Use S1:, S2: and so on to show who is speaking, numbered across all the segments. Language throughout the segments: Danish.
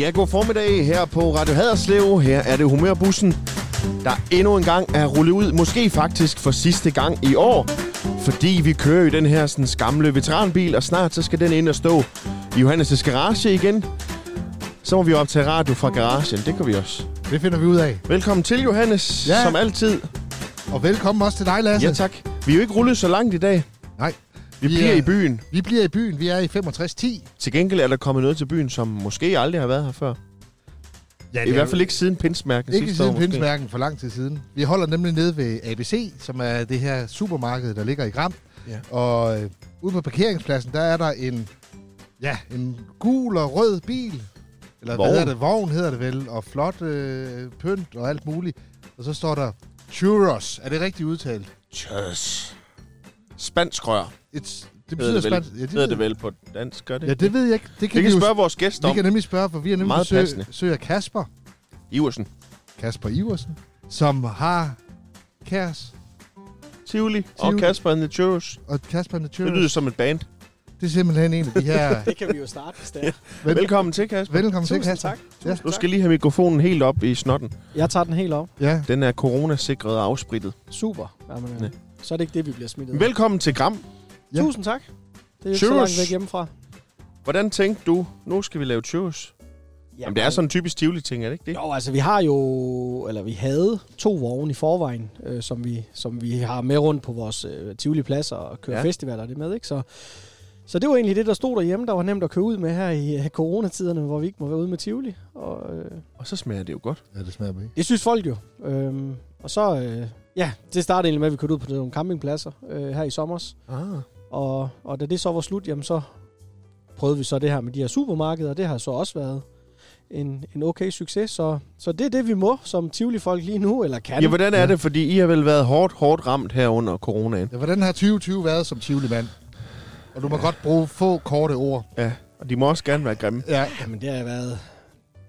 S1: Ja, god formiddag her på Radio Haderslev. Her er det Humørbussen, der endnu en gang er rullet ud. Måske faktisk for sidste gang i år. Fordi vi kører jo den her sådan, gamle veteranbil, og snart så skal den ind og stå i Johannes' garage igen. Så må vi optage radio fra garagen. Det kan vi også.
S2: Det finder vi ud af.
S1: Velkommen til, Johannes,
S2: Ja.
S1: som altid.
S2: Og velkommen også til dig, Lasse.
S1: Ja, tak. Vi er jo ikke rullet så langt i dag.
S2: Nej,
S1: Vi
S2: Vi
S1: bliver
S2: er-
S1: i byen.
S2: vi bliver i byen. Vi er i 6510.
S1: Til gengæld er der kommet noget til byen, som måske aldrig har været her før.
S2: Ja,
S1: I hvert fald ikke siden pinsmærken
S2: ikke
S1: sidste år,
S2: siden
S1: måske.
S2: pindsmærken for lang tid siden. Vi holder nemlig nede ved ABC, som er det her supermarked, der ligger i Gram.
S1: Ja.
S2: Og øh, ude på parkeringspladsen, der er der en, ja, en gul og rød bil. Eller
S1: Vogn.
S2: hvad hedder det? Vogn hedder det vel. Og flot øh, pynt og alt muligt. Og så står der Churros. Er det rigtigt udtalt?
S1: Tjøs. Spansk rør,
S2: It's, det
S1: hedder
S2: betyder
S1: det, vel.
S2: spansk. Ja, det,
S1: hedder det vel på dansk, gør det?
S2: Ja, det ved jeg ikke. Det
S1: kan
S2: kan
S1: vi
S2: vi
S1: kan
S2: jo
S1: spørge vores gæster
S2: Vi
S1: om.
S2: kan nemlig spørge, for vi har nemlig
S1: Meget passende.
S2: besøg, besøg af Kasper,
S1: Iversen.
S2: Kasper Iversen, som har Kærs
S1: Tivoli, og
S2: Tivoli.
S1: Kasper and the Churros.
S2: og Kasper Nature.
S1: Det lyder som et band.
S2: det er simpelthen en af de her...
S3: Det kan vi jo starte, hvis det er.
S2: Vel-
S1: Velkommen til, Kasper.
S2: Velkommen til,
S3: Tusind
S2: Kasper.
S3: tak.
S2: Ja.
S3: Tusind
S1: Nu skal
S3: tak.
S1: jeg lige have mikrofonen helt op i snotten.
S3: Jeg tager den helt op.
S2: Ja,
S1: Den er coronasikret og afsprittet.
S3: Super. Jamen,
S1: Ja.
S3: ja. Så er det ikke det, vi bliver smidt af.
S1: Velkommen til Gram.
S2: Ja.
S3: Tusind tak. Det er jo ikke så
S1: Cheers.
S3: langt væk hjemmefra.
S1: Hvordan tænkte du, nu skal vi lave churros? Jamen, det er sådan en typisk Tivoli-ting, er det ikke det?
S3: Jo, altså vi har jo, eller vi havde to vogne i forvejen, øh, som, vi, som vi har med rundt på vores øh, Tivoli Plads og kører
S1: Ja.
S3: ja. festivaler og det med, ikke? Så, så det var egentlig det, der stod derhjemme, der var nemt at køre ud med her i øh, coronatiderne, hvor vi ikke må være ude med Tivoli. Og, øh,
S1: Og så smager det jo godt.
S2: ja det smager mig.
S3: Det synes folk jo. Øhm, og så, øh, ja, det startede egentlig med, at vi kørte ud på nogle campingpladser øh, her i sommer.
S1: Ah.
S3: Og, og da det så var slut, jamen så prøvede vi så det her med de her supermarkeder, og det har så også været en, en okay succes. Så, så det er det, vi må som Tivoli-folk lige nu, eller kan.
S1: Ja, hvordan er
S2: Ja.
S1: det? Fordi I har vel været hårdt, hårdt ramt her under coronaen.
S2: Ja, hvordan har 2020 været som tivoli mand? Og du må godt bruge få korte ord.
S1: Og de må også gerne være grimme.
S2: Ja,
S3: Jamen, det har været,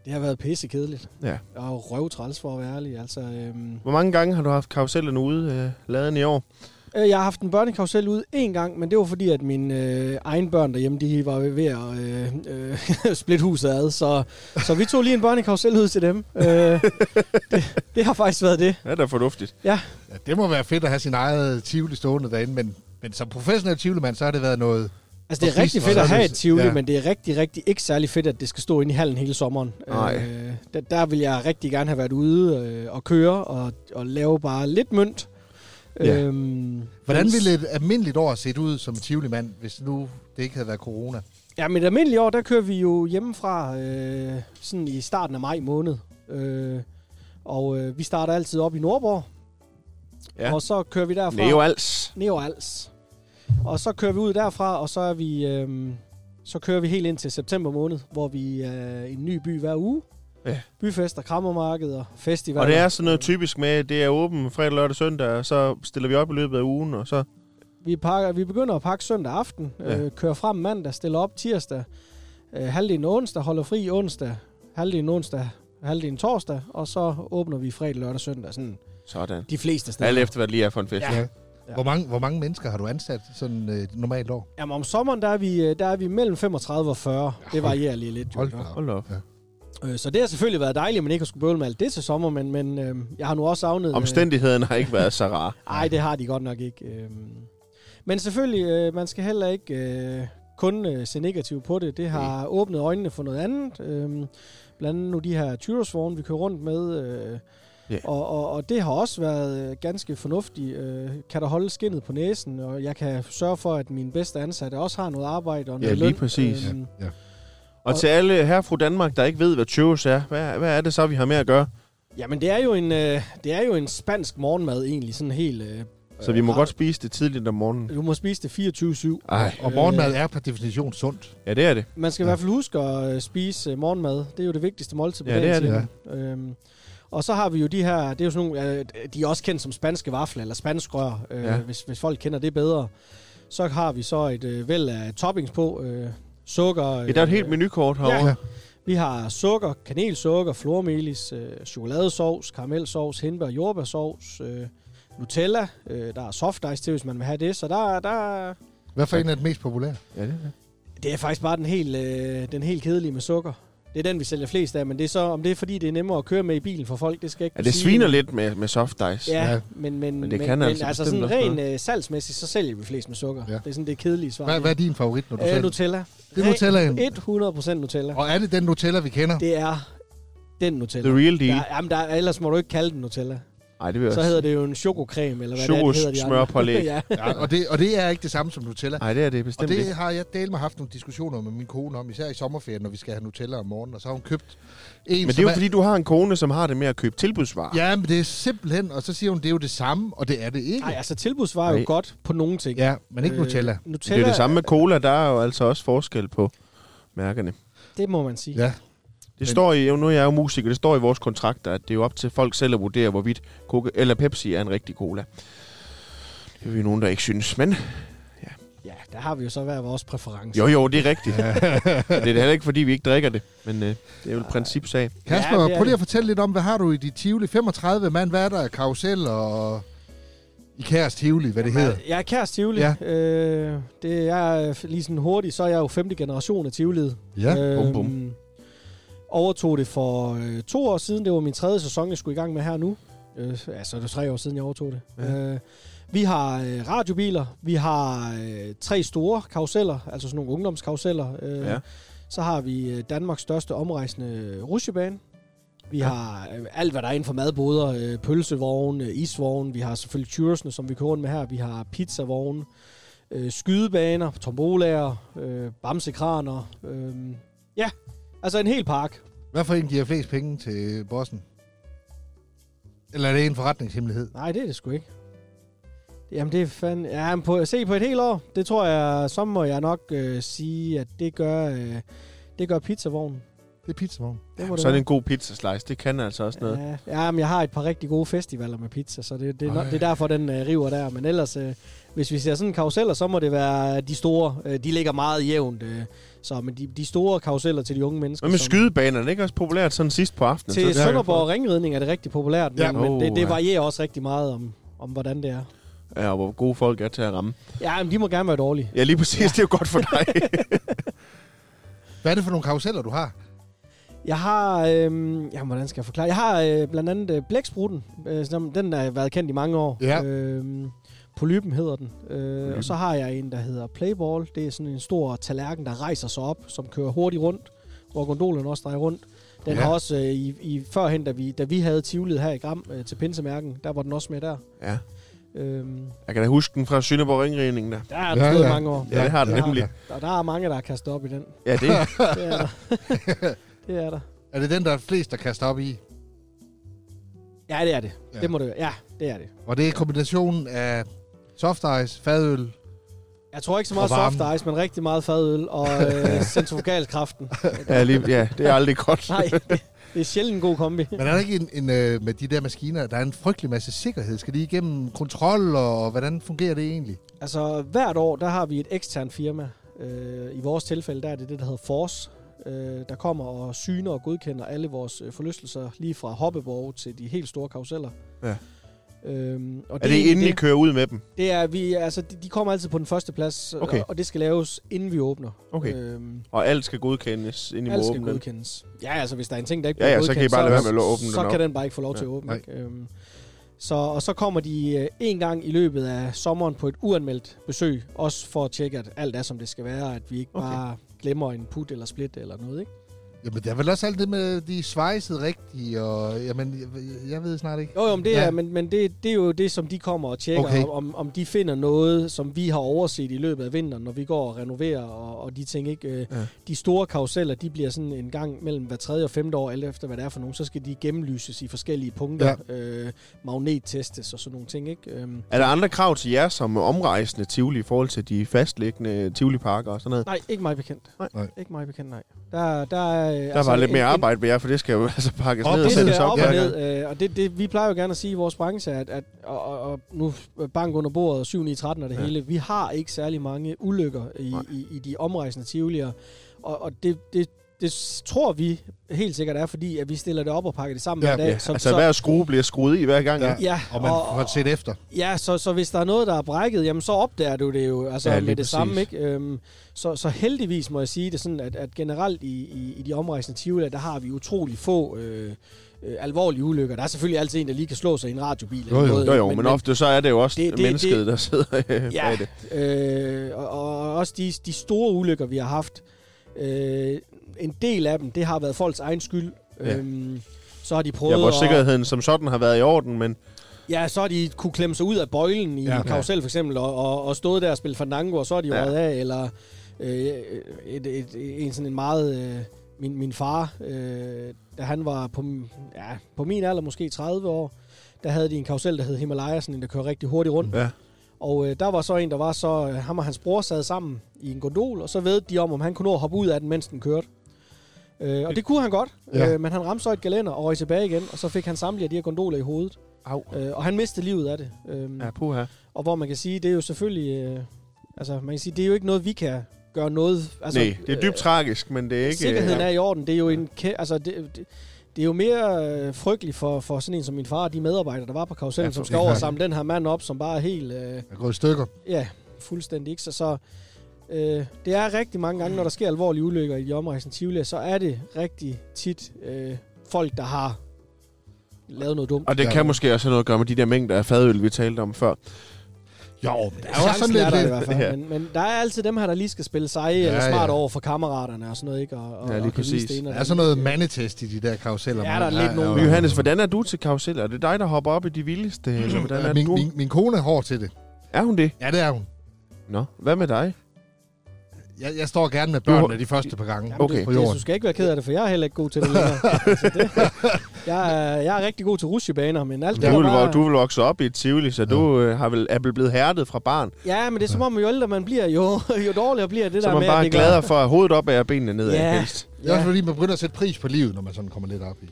S3: det har været pissekedeligt.
S1: Ja.
S3: Jeg er jo røvtræls for at være ærlig. Altså, øhm,
S1: Hvor mange gange har du haft karusellen ude øh, laden i år?
S3: øh, jeg har haft en børnekarusel ud en gang, men det var fordi, at mine øh, egne børn derhjemme, de var ved at øh, øh, splitte huset ad. Så, så vi tog lige en børnekarusel ud til dem. Øh, det, det har faktisk været det.
S1: Ja, det er fornuftigt.
S2: ja det må være fedt at have sin eget tivoli stående derinde, men, men som professionel tivoli-mand, så har det været noget...
S3: Altså, det er
S2: Præcis,
S3: rigtig
S2: og
S3: fedt
S2: så
S3: at
S2: er
S3: have
S2: det-
S3: et Tivoli,
S2: ja.
S3: ja. men det er rigtig, rigtig ikke særlig fedt, at det skal stå inde i hallen hele sommeren.
S1: Nej.
S3: Øh, der, der vil jeg rigtig gerne have været ude øh, og køre og, og lave bare lidt mønt.
S1: Ja.
S3: Øhm,
S2: Hvordan
S3: men-
S2: ville et almindeligt år se ud som tivoli-mand, hvis nu det ikke havde været corona?
S3: Ja, men et almindeligt år, der kører vi jo hjemmefra øh, sådan i starten af maj måned. Øh, og øh, vi starter altid op i Nordborg.
S1: Ja.
S3: Og så kører vi derfra.
S1: Neo Als.
S3: Neo Als. Og så kører vi ud derfra, og så er vi... Øhm, så kører vi helt ind til september måned, hvor vi er øh, i en ny by hver uge.
S1: Ja.
S3: Byfester, krammermarkeder, festivaler.
S1: Og det er sådan noget typisk med, det er åben fredag, lørdag, søndag, og så stiller vi op i løbet af ugen, og så...
S3: Vi, pakker, vi begynder at pakke søndag aften,
S1: Ja.
S3: ja. øh, kører frem mandag, stiller op tirsdag, øh, halvdelen onsdag, holder fri onsdag, halvdelen onsdag, halvdelen torsdag, og så åbner vi fredag, lørdag, søndag. Sådan
S1: Sådan.
S3: de fleste steder.
S1: Alt efter, hvad det lige er for en fest.
S3: Ja.
S2: Ja.
S3: Ja.
S2: Hvor, mange, hvor mange mennesker har du ansat sådan øh, et normalt år?
S3: Jamen, om sommeren, der er vi, øh, der er vi mellem 35 og 40. Det varierer lige lidt. jo.
S2: Hold da op.
S1: Hold da op.
S3: Øh, Så det har selvfølgelig været dejligt, men ikke at skulle bøvle med alt det til sommer, men, men øh, jeg har nu også savnet... øh,
S1: Omstændighederne har ikke været så rare.
S3: Nej, det har de godt nok ikke. Øh. Men selvfølgelig, øh, man skal heller ikke øh, kun øh, se negativt på det. Det har
S1: Mm.
S3: åbnet øjnene for noget andet. Øh, blandt andet nu de her Tyrosvogne, vi kører rundt med. Øh,
S1: Ja.
S3: og, og, og det har også været øh, ganske fornuftigt. Øh, kan der holde skinnet på næsen, og jeg kan sørge for, at mine bedste ansatte også har noget arbejde og noget
S1: lige
S3: løn.
S1: præcis.
S3: Øhm,
S1: Og til alle her fra Danmark, der ikke ved, hvad churros er, hvad, hvad er det så, vi har med at gøre?
S3: Jamen, det er, jo en, øh, det er jo en spansk morgenmad egentlig, sådan helt... Øh,
S1: Så vi må
S3: øh,
S1: godt spise det tidligt om morgenen.
S3: Du må spise det 24-7.
S1: Ej,
S2: Og morgenmad er per definition sundt.
S1: ja, det er det.
S3: Man skal ja. i hvert fald huske at øh, spise øh, morgenmad. Det er jo det vigtigste måltid på
S1: Ja, det
S3: dagen,
S1: er det.
S3: siger man. Øhm, og så har vi jo de her, det er jo sådan nogle, øh, de er også kendt som spanske vafler, eller spansk rør, øh,
S1: Ja.
S3: ja. hvis, hvis folk kender det bedre. Så har vi så et øh, væld af toppings på, øh, sukker.
S1: Ja, der er et helt
S3: øh,
S1: menukort herovre.
S2: Ja.
S3: Vi har sukker, kanelsukker, flormelis, øh, chokoladesovs, karamelsovs, hindbær, og jordbærsovs, øh, Nutella. Øh, der er soft ice til, hvis man vil have det. Så der, er- der, er-
S2: Hvad for en er det mest populære?
S1: Ja, det er det.
S3: det er faktisk bare den helt, øh, den helt kedelige med sukker. Det er den, vi sælger flest af, men det er så, om det er fordi, det er nemmere at køre med i bilen for folk, det skal jeg ikke
S1: Ja, det
S3: sige.
S1: sviner lidt med, med soft dice.
S3: Ja,
S2: Ja.
S3: ja. Men, men,
S1: Men det
S3: men,
S1: kan
S3: men,
S1: altså
S3: altså, altså
S1: bestemt
S3: sådan
S1: også
S3: rent øh, salgsmæssigt, så sælger vi flest med sukker.
S2: Ja.
S3: Ja. Det er sådan det kedelige svar.
S2: Hvad, hvad er din favorit, når du
S3: Øh,
S2: selv?
S3: Nutella.
S2: Det er Nutellaen.
S3: 100% Nutella.
S2: Og er det den Nutella, vi kender?
S3: Det er den Nutella.
S1: The real deal.
S3: Der, jamen, der, er- ellers må du ikke kalde den Nutella.
S1: Nej, det vil jeg
S3: Så
S1: også-
S3: hedder det jo en chokocreme, eller hvad det er, det hedder de andre.
S1: Chokosmørpålæg.
S3: ja.
S2: Ja, og, det, og det er ikke det samme som Nutella.
S1: Nej, det er det
S2: Og
S1: bestemt
S2: det
S1: ikke.
S2: har jeg delt med haft nogle diskussioner med min kone om, især i sommerferien, når vi skal have Nutella om morgenen, og så har hun købt en,
S1: Men det
S2: som
S1: er jo fordi, du har en kone, som har det med at købe tilbudsvarer.
S2: Ja, men det er simpelthen, og så siger hun, det er jo det samme, og det er det ikke.
S3: Ej, altså tilbudsvarer er jo
S1: Nej.
S3: godt på nogle ting.
S2: Ja, men ikke øh, Nutella.
S3: Øh, Nutella,
S1: Det er jo det samme med cola, der er jo altså også forskel på mærkerne.
S3: Det må man sige.
S2: Ja.
S1: Det står i, nu er jeg jo musiker, det står i vores kontrakter, at det er jo op til folk selv at vurdere, hvorvidt Coca eller Pepsi er en rigtig cola. Det er vi nogen, der ikke synes, men
S3: ja, der har vi jo så hver vores præference.
S1: jo jo, det er rigtigt. Og det er da heller ikke, fordi vi ikke drikker det, men øh, det er jo et principsag.
S2: Kasper,
S3: Ja,
S2: ja,
S3: det er
S2: prøv lige
S3: det.
S2: at fortælle lidt om, hvad har du i dit Tivoli? 35 mand, hvad er der? Karusel og Ikærs Tivoli, hvad det hedder.
S3: Jeg er kæreste Tivoli.
S2: Ja.
S3: Ja. Øh, det er øh, lige sådan hurtigt, så er jeg jo femte generation af Tivoliet.
S2: Ja,
S1: bum, bum.
S3: Øhm, Overtog det for øh, to år siden. Det var min tredje sæson, jeg skulle i gang med her nu. Øh, altså, det er tre år siden, jeg overtog det.
S1: Ja.
S3: Ja. Øh, vi har øh, radiobiler. Vi har øh, tre store karuseller, altså sådan nogle ungdomskaruseller. Øh,
S1: Ja.
S3: ja. Så har vi øh, Danmarks største omrejsende rutsjebane. Vi
S1: Ja.
S3: ja. har øh, alt, hvad der er inden for madboder. Øh, pølsevogn, øh, isvogn. Vi har selvfølgelig churrosene, som vi kører rundt med her. Vi har pizzavogn, øh, skydebaner, tombolager, øh, bamsekraner. Øh, ja, altså en hel park.
S2: Hvad for en giver flest penge til bossen? Eller er det en forretningshemmelighed?
S3: Nej, det er det sgu ikke. Jamen, det er fandme... Ja, men på, se på et helt år, det tror jeg, så må jeg nok øh, sige, at det gør, øh, det gør pizzavognen.
S2: Det er pizzavogn.
S3: Det må det
S1: Sådan
S3: være.
S1: en god pizzaslice, det kan altså også noget.
S3: Ja, ja, men jeg har et par rigtig gode festivaler med pizza, så det, det, er, nok-
S2: Ej.
S3: det er derfor, den øh, river der. Men ellers, øh, hvis vi ser sådan karuseller, så må det være de store. Øh, de ligger meget jævnt. Øh, så, men de, de store karuseller til de unge mennesker.
S1: Hvad med
S3: som-
S1: skydebanerne? Det er ikke også populært sådan sidst på aftenen?
S3: Til
S1: Så-
S3: Sønderborg Ringridning er det rigtig populært, men,
S1: Ja.
S3: ja. men det, det
S1: Åh, ja.
S3: varierer også rigtig meget om, om hvordan det er.
S1: Ja, og hvor gode folk er til at ramme.
S3: Ja, men de må gerne være dårlige.
S1: Ja, lige præcis. Det er jo godt for dig.
S2: Hvad er det for nogle karuseller, du har?
S3: Jeg har, øh, jamen, hvordan skal jeg forklare? Jeg har øh, blandt andet øh, blæksprutten, øh, som, den har været kendt i mange år.
S2: Ja.
S3: Øh, Polypen hedder den. Øh, og så har jeg en, der hedder Playball. Det er sådan en stor tallerken, der rejser sig op, som kører hurtigt rundt, hvor gondolen også drejer rundt. Den
S2: Ja.
S3: ja. har også øh, i, i førhen, da vi, da vi havde Tivoliet her i Gram øh, til Pinsemærken, der var den også med der.
S1: ja.
S3: Øhm,
S1: Jeg kan da huske den fra Sønderborg Ringredningen der.
S3: der er
S2: Ja,
S3: ja,
S2: ja.
S3: ja. mange år.
S1: Ja, det har den
S3: Ja.
S1: nemlig.
S3: Og der er mange, der har kastet op i den.
S1: Ja, det
S3: Det er der. det er der.
S2: Er det den, der er flest, der kaster op i?
S3: Ja, det er det.
S2: Ja.
S3: Ja. Det må det være. Ja, det er det.
S2: Og det er kombinationen af soft ice, fadøl.
S3: Jeg tror ikke
S2: Og
S3: så meget
S2: varmen.
S3: soft ice, men rigtig meget fadøl og øh, centrifugalkraften.
S1: ja, lige, ja, det er aldrig godt.
S3: Nej, det, det er sjældent en god kombi.
S2: Men er der ikke en, en øh, med de der maskiner, der er en frygtelig masse sikkerhed? Skal de igennem kontrol, og hvordan fungerer det egentlig?
S3: Altså, hvert år, der har vi et eksternt firma. Øh, I vores tilfælde, der er det det, der hedder Force, øh, der kommer og syner og godkender alle vores øh, forlystelser, lige fra hoppeborg til de helt store karuseller.
S1: Ja.
S3: Øhm, og
S1: Er det inden I
S3: det,
S1: kører ud med dem?
S3: det er vi, altså, de, de kommer altid på den første plads, øh,
S1: Okay.
S3: og det skal laves, inden vi åbner. Øhm,
S1: Og alt skal godkendes, inden I må
S3: Alt skal
S1: åbne den.
S3: godkendes. Ja, altså hvis der er en ting, der ikke
S1: Ja,
S3: bliver
S1: ja, så kan
S3: godkendt,
S1: I bare lade være med at åbne den
S3: så
S1: op.
S3: kan den bare ikke få lov til
S1: Ja,
S3: at åbne.
S2: nej.
S3: ikke? Øhm, så, og så kommer de øh, en gang i løbet af sommeren på et uanmeldt besøg, også for at tjekke, at alt er, som det skal være, at vi ikke
S1: Okay.
S3: okay. bare glemmer en put eller split eller noget, ikke?
S2: Jamen, der er vel også alt det med, de er svejset rigtigt, og jamen, jeg, jeg ved snart ikke.
S3: Jo, jo, men, det
S2: Ja.
S3: ja. er, men, men det, det er jo det, som de kommer og tjekker,
S2: Okay.
S3: okay. om, om de finder noget, som vi har overset i løbet af vinteren, når vi går og renoverer og, og de ting. Ikke? Øh,
S1: Ja.
S3: De store karuseller, de bliver sådan en gang mellem hver tredje og femte år, alt efter hvad det er for nogen, så skal de gennemlyses i forskellige punkter, ja. øh, magnettestes og sådan nogle ting. Ikke? Øhm,
S1: Er der andre krav til jer som omrejsende Tivoli i forhold til de fastliggende Tivoli-parker og sådan noget?
S3: nej, ikke mig bekendt.
S1: Nej.
S2: Nej.
S3: Ikke mig bekendt, nej. Der, der, er, øh,
S1: Der var lidt
S3: en-
S1: mere
S3: en-
S1: arbejde ved jer, for det skal jo altså pakkes
S2: Op
S1: ned og
S2: og
S3: det
S1: sættes
S3: skal
S1: op.
S3: op
S1: hver
S3: og
S1: gang.
S3: ned, øh, og det, det, vi plejer jo gerne at sige i vores branche, at, at og, og, og nu bank under bordet 7 9, 13 og det
S1: Ja.
S3: ja. hele, vi har ikke særlig mange ulykker i,
S1: Nej.
S3: i, i de omrejsende tivolier, og, og det, det det s- tror vi helt sikkert er, fordi at vi stiller det op og pakker det sammen
S2: Ja,
S3: hver dag.
S1: Ja,
S3: så,
S1: altså
S3: så,
S1: hver skrue bliver skruet i hver gang. Ja.
S3: ja,
S2: Og man får set efter.
S3: Ja, så, så hvis der er noget, der er brækket, jamen så opdager du det jo altså
S2: Ja,
S3: ja,
S2: lige
S3: med det
S2: præcis.
S3: samme. Ikke? Øhm, så, så heldigvis må jeg sige det er sådan, at, at generelt i, i, i de omrejsende Tivoli, der har vi utrolig få øh, øh, alvorlige ulykker. Der er selvfølgelig altid en, der lige kan slå sig i en radiobil. eller
S2: Jo, jo.
S3: noget,
S1: Jo
S3: ikke?
S1: jo, men, men ofte så er det jo også det,
S3: Det- det-
S1: det, mennesket,
S3: det-
S1: der sidder øh, bag
S3: Ja,
S1: det.
S3: øh, og, og også de, de store ulykker, vi har haft. Øh, en del af dem, det har været folks egen skyld.
S1: Ja.
S3: Øhm, så har de prøvet
S1: Ja, hvor
S3: at-
S1: sikkerheden som sådan har været i orden, men
S3: Ja, så har de kunne klemme sig ud af bøjlen i
S2: Ja.
S3: ja, karusel for eksempel, og, og, og stået der og spille Fandango, og så er de jo
S1: Ja.
S3: ja. af, eller øh, et, et, et, en sådan en meget... Øh, min, min far, øh, da han var på, min- ja, på min alder, måske 30 år, der havde de en karusel, der hed Himalaya, sådan en, der kører rigtig hurtigt rundt.
S1: Ja.
S3: Og øh, der var så en, der var så... Øh, ham og hans bror sad sammen i en gondol, og så ved de om, om han kunne nå at hoppe ud af den, mens den kørte. Øh, og det kunne han godt,
S2: Ja.
S3: ja. øh, men han ramte så et galænder og røg tilbage igen, og så fik han samtlige af de her gondoler i hovedet.
S1: Au.
S3: Øh, og han mistede livet af det. Øhm, ja.
S1: Ja, puha.
S3: Og hvor man kan sige, det er jo selvfølgelig... Øh, altså, man kan sige, det er jo ikke noget, vi kan gøre noget... Altså,
S1: Altså, Nej, det er dybt øh, tragisk, men det er
S3: øh,
S1: ikke...
S3: Sikkerheden er i orden. Det er jo en... Kæ- altså, det, det, det er jo mere øh, frygteligt for, for sådan en som min far og de medarbejdere, der var på karusellen,
S1: Ja,
S3: ja,
S1: for-
S3: som skal
S2: ja.
S3: over og samle den her mand op, som bare er helt... Øh,
S2: Jeg går i stykker.
S3: ja, fuldstændig ikke. Så, så øh, det er rigtig mange gange, når der sker alvorlige ulykker i de omrejsende Tivoli, så er det rigtig tit øh, folk, der har lavet noget dumt.
S1: Og det
S2: Ja.
S1: kan måske også have noget at gøre med de der mængder af fadøl, vi talte om før.
S2: Jo, men der er jo også sådan
S3: Chancen
S2: lidt... øh,
S3: er der i
S2: lidt
S3: hvert fald.
S1: Ja.
S3: Men, men der er altid dem her, der lige skal spille seje ja, eller
S2: Ja,
S3: smart
S2: ja.
S3: ja. over for kammeraterne og sådan noget, ikke? Og, og,
S1: Ja, lige
S3: og kan vise
S1: præcis.
S3: det ene
S2: der
S3: og det
S2: er sådan
S3: andet.
S2: noget mandetest i de der karuseller.
S3: Ja, der er lidt nogen.
S1: Men Johannes, hvordan er du til karuseller? Er det dig, der hopper op i de vildeste? Eller hvordan er
S2: Mm. min,
S1: du?
S2: min, min kone er hård til det.
S1: Er hun det?
S2: Ja, det er hun.
S1: Nå, hvad med dig?
S2: Jeg, jeg står gerne med
S1: Du-
S2: børnene de første par gange.
S3: Jamen,
S1: Okay.
S3: det,
S2: På
S3: det,
S2: jorden.
S3: du skal ikke være ked af det, for jeg er heller ikke god til det længere. altså, det, jeg, er, jeg er rigtig god til rusjebaner, men alt
S1: Du
S3: det
S1: vil,
S3: der
S1: vo-
S3: bare,
S1: du vil vokse op i et Tivoli, så du øh, har vel, er vel blevet hærdet fra barn.
S3: Ja, men det er som om, jo ældre man bliver, jo, jo dårligere bliver det
S1: Så
S3: der
S1: man
S3: med,
S1: bare
S3: at
S1: er
S3: det gør-
S1: gladere for at hovedet op og benene nedad
S3: Ja.
S1: helst.
S2: Det er også
S3: Ja,
S2: fordi, man begynder at sætte pris på livet, når man sådan kommer lidt op i.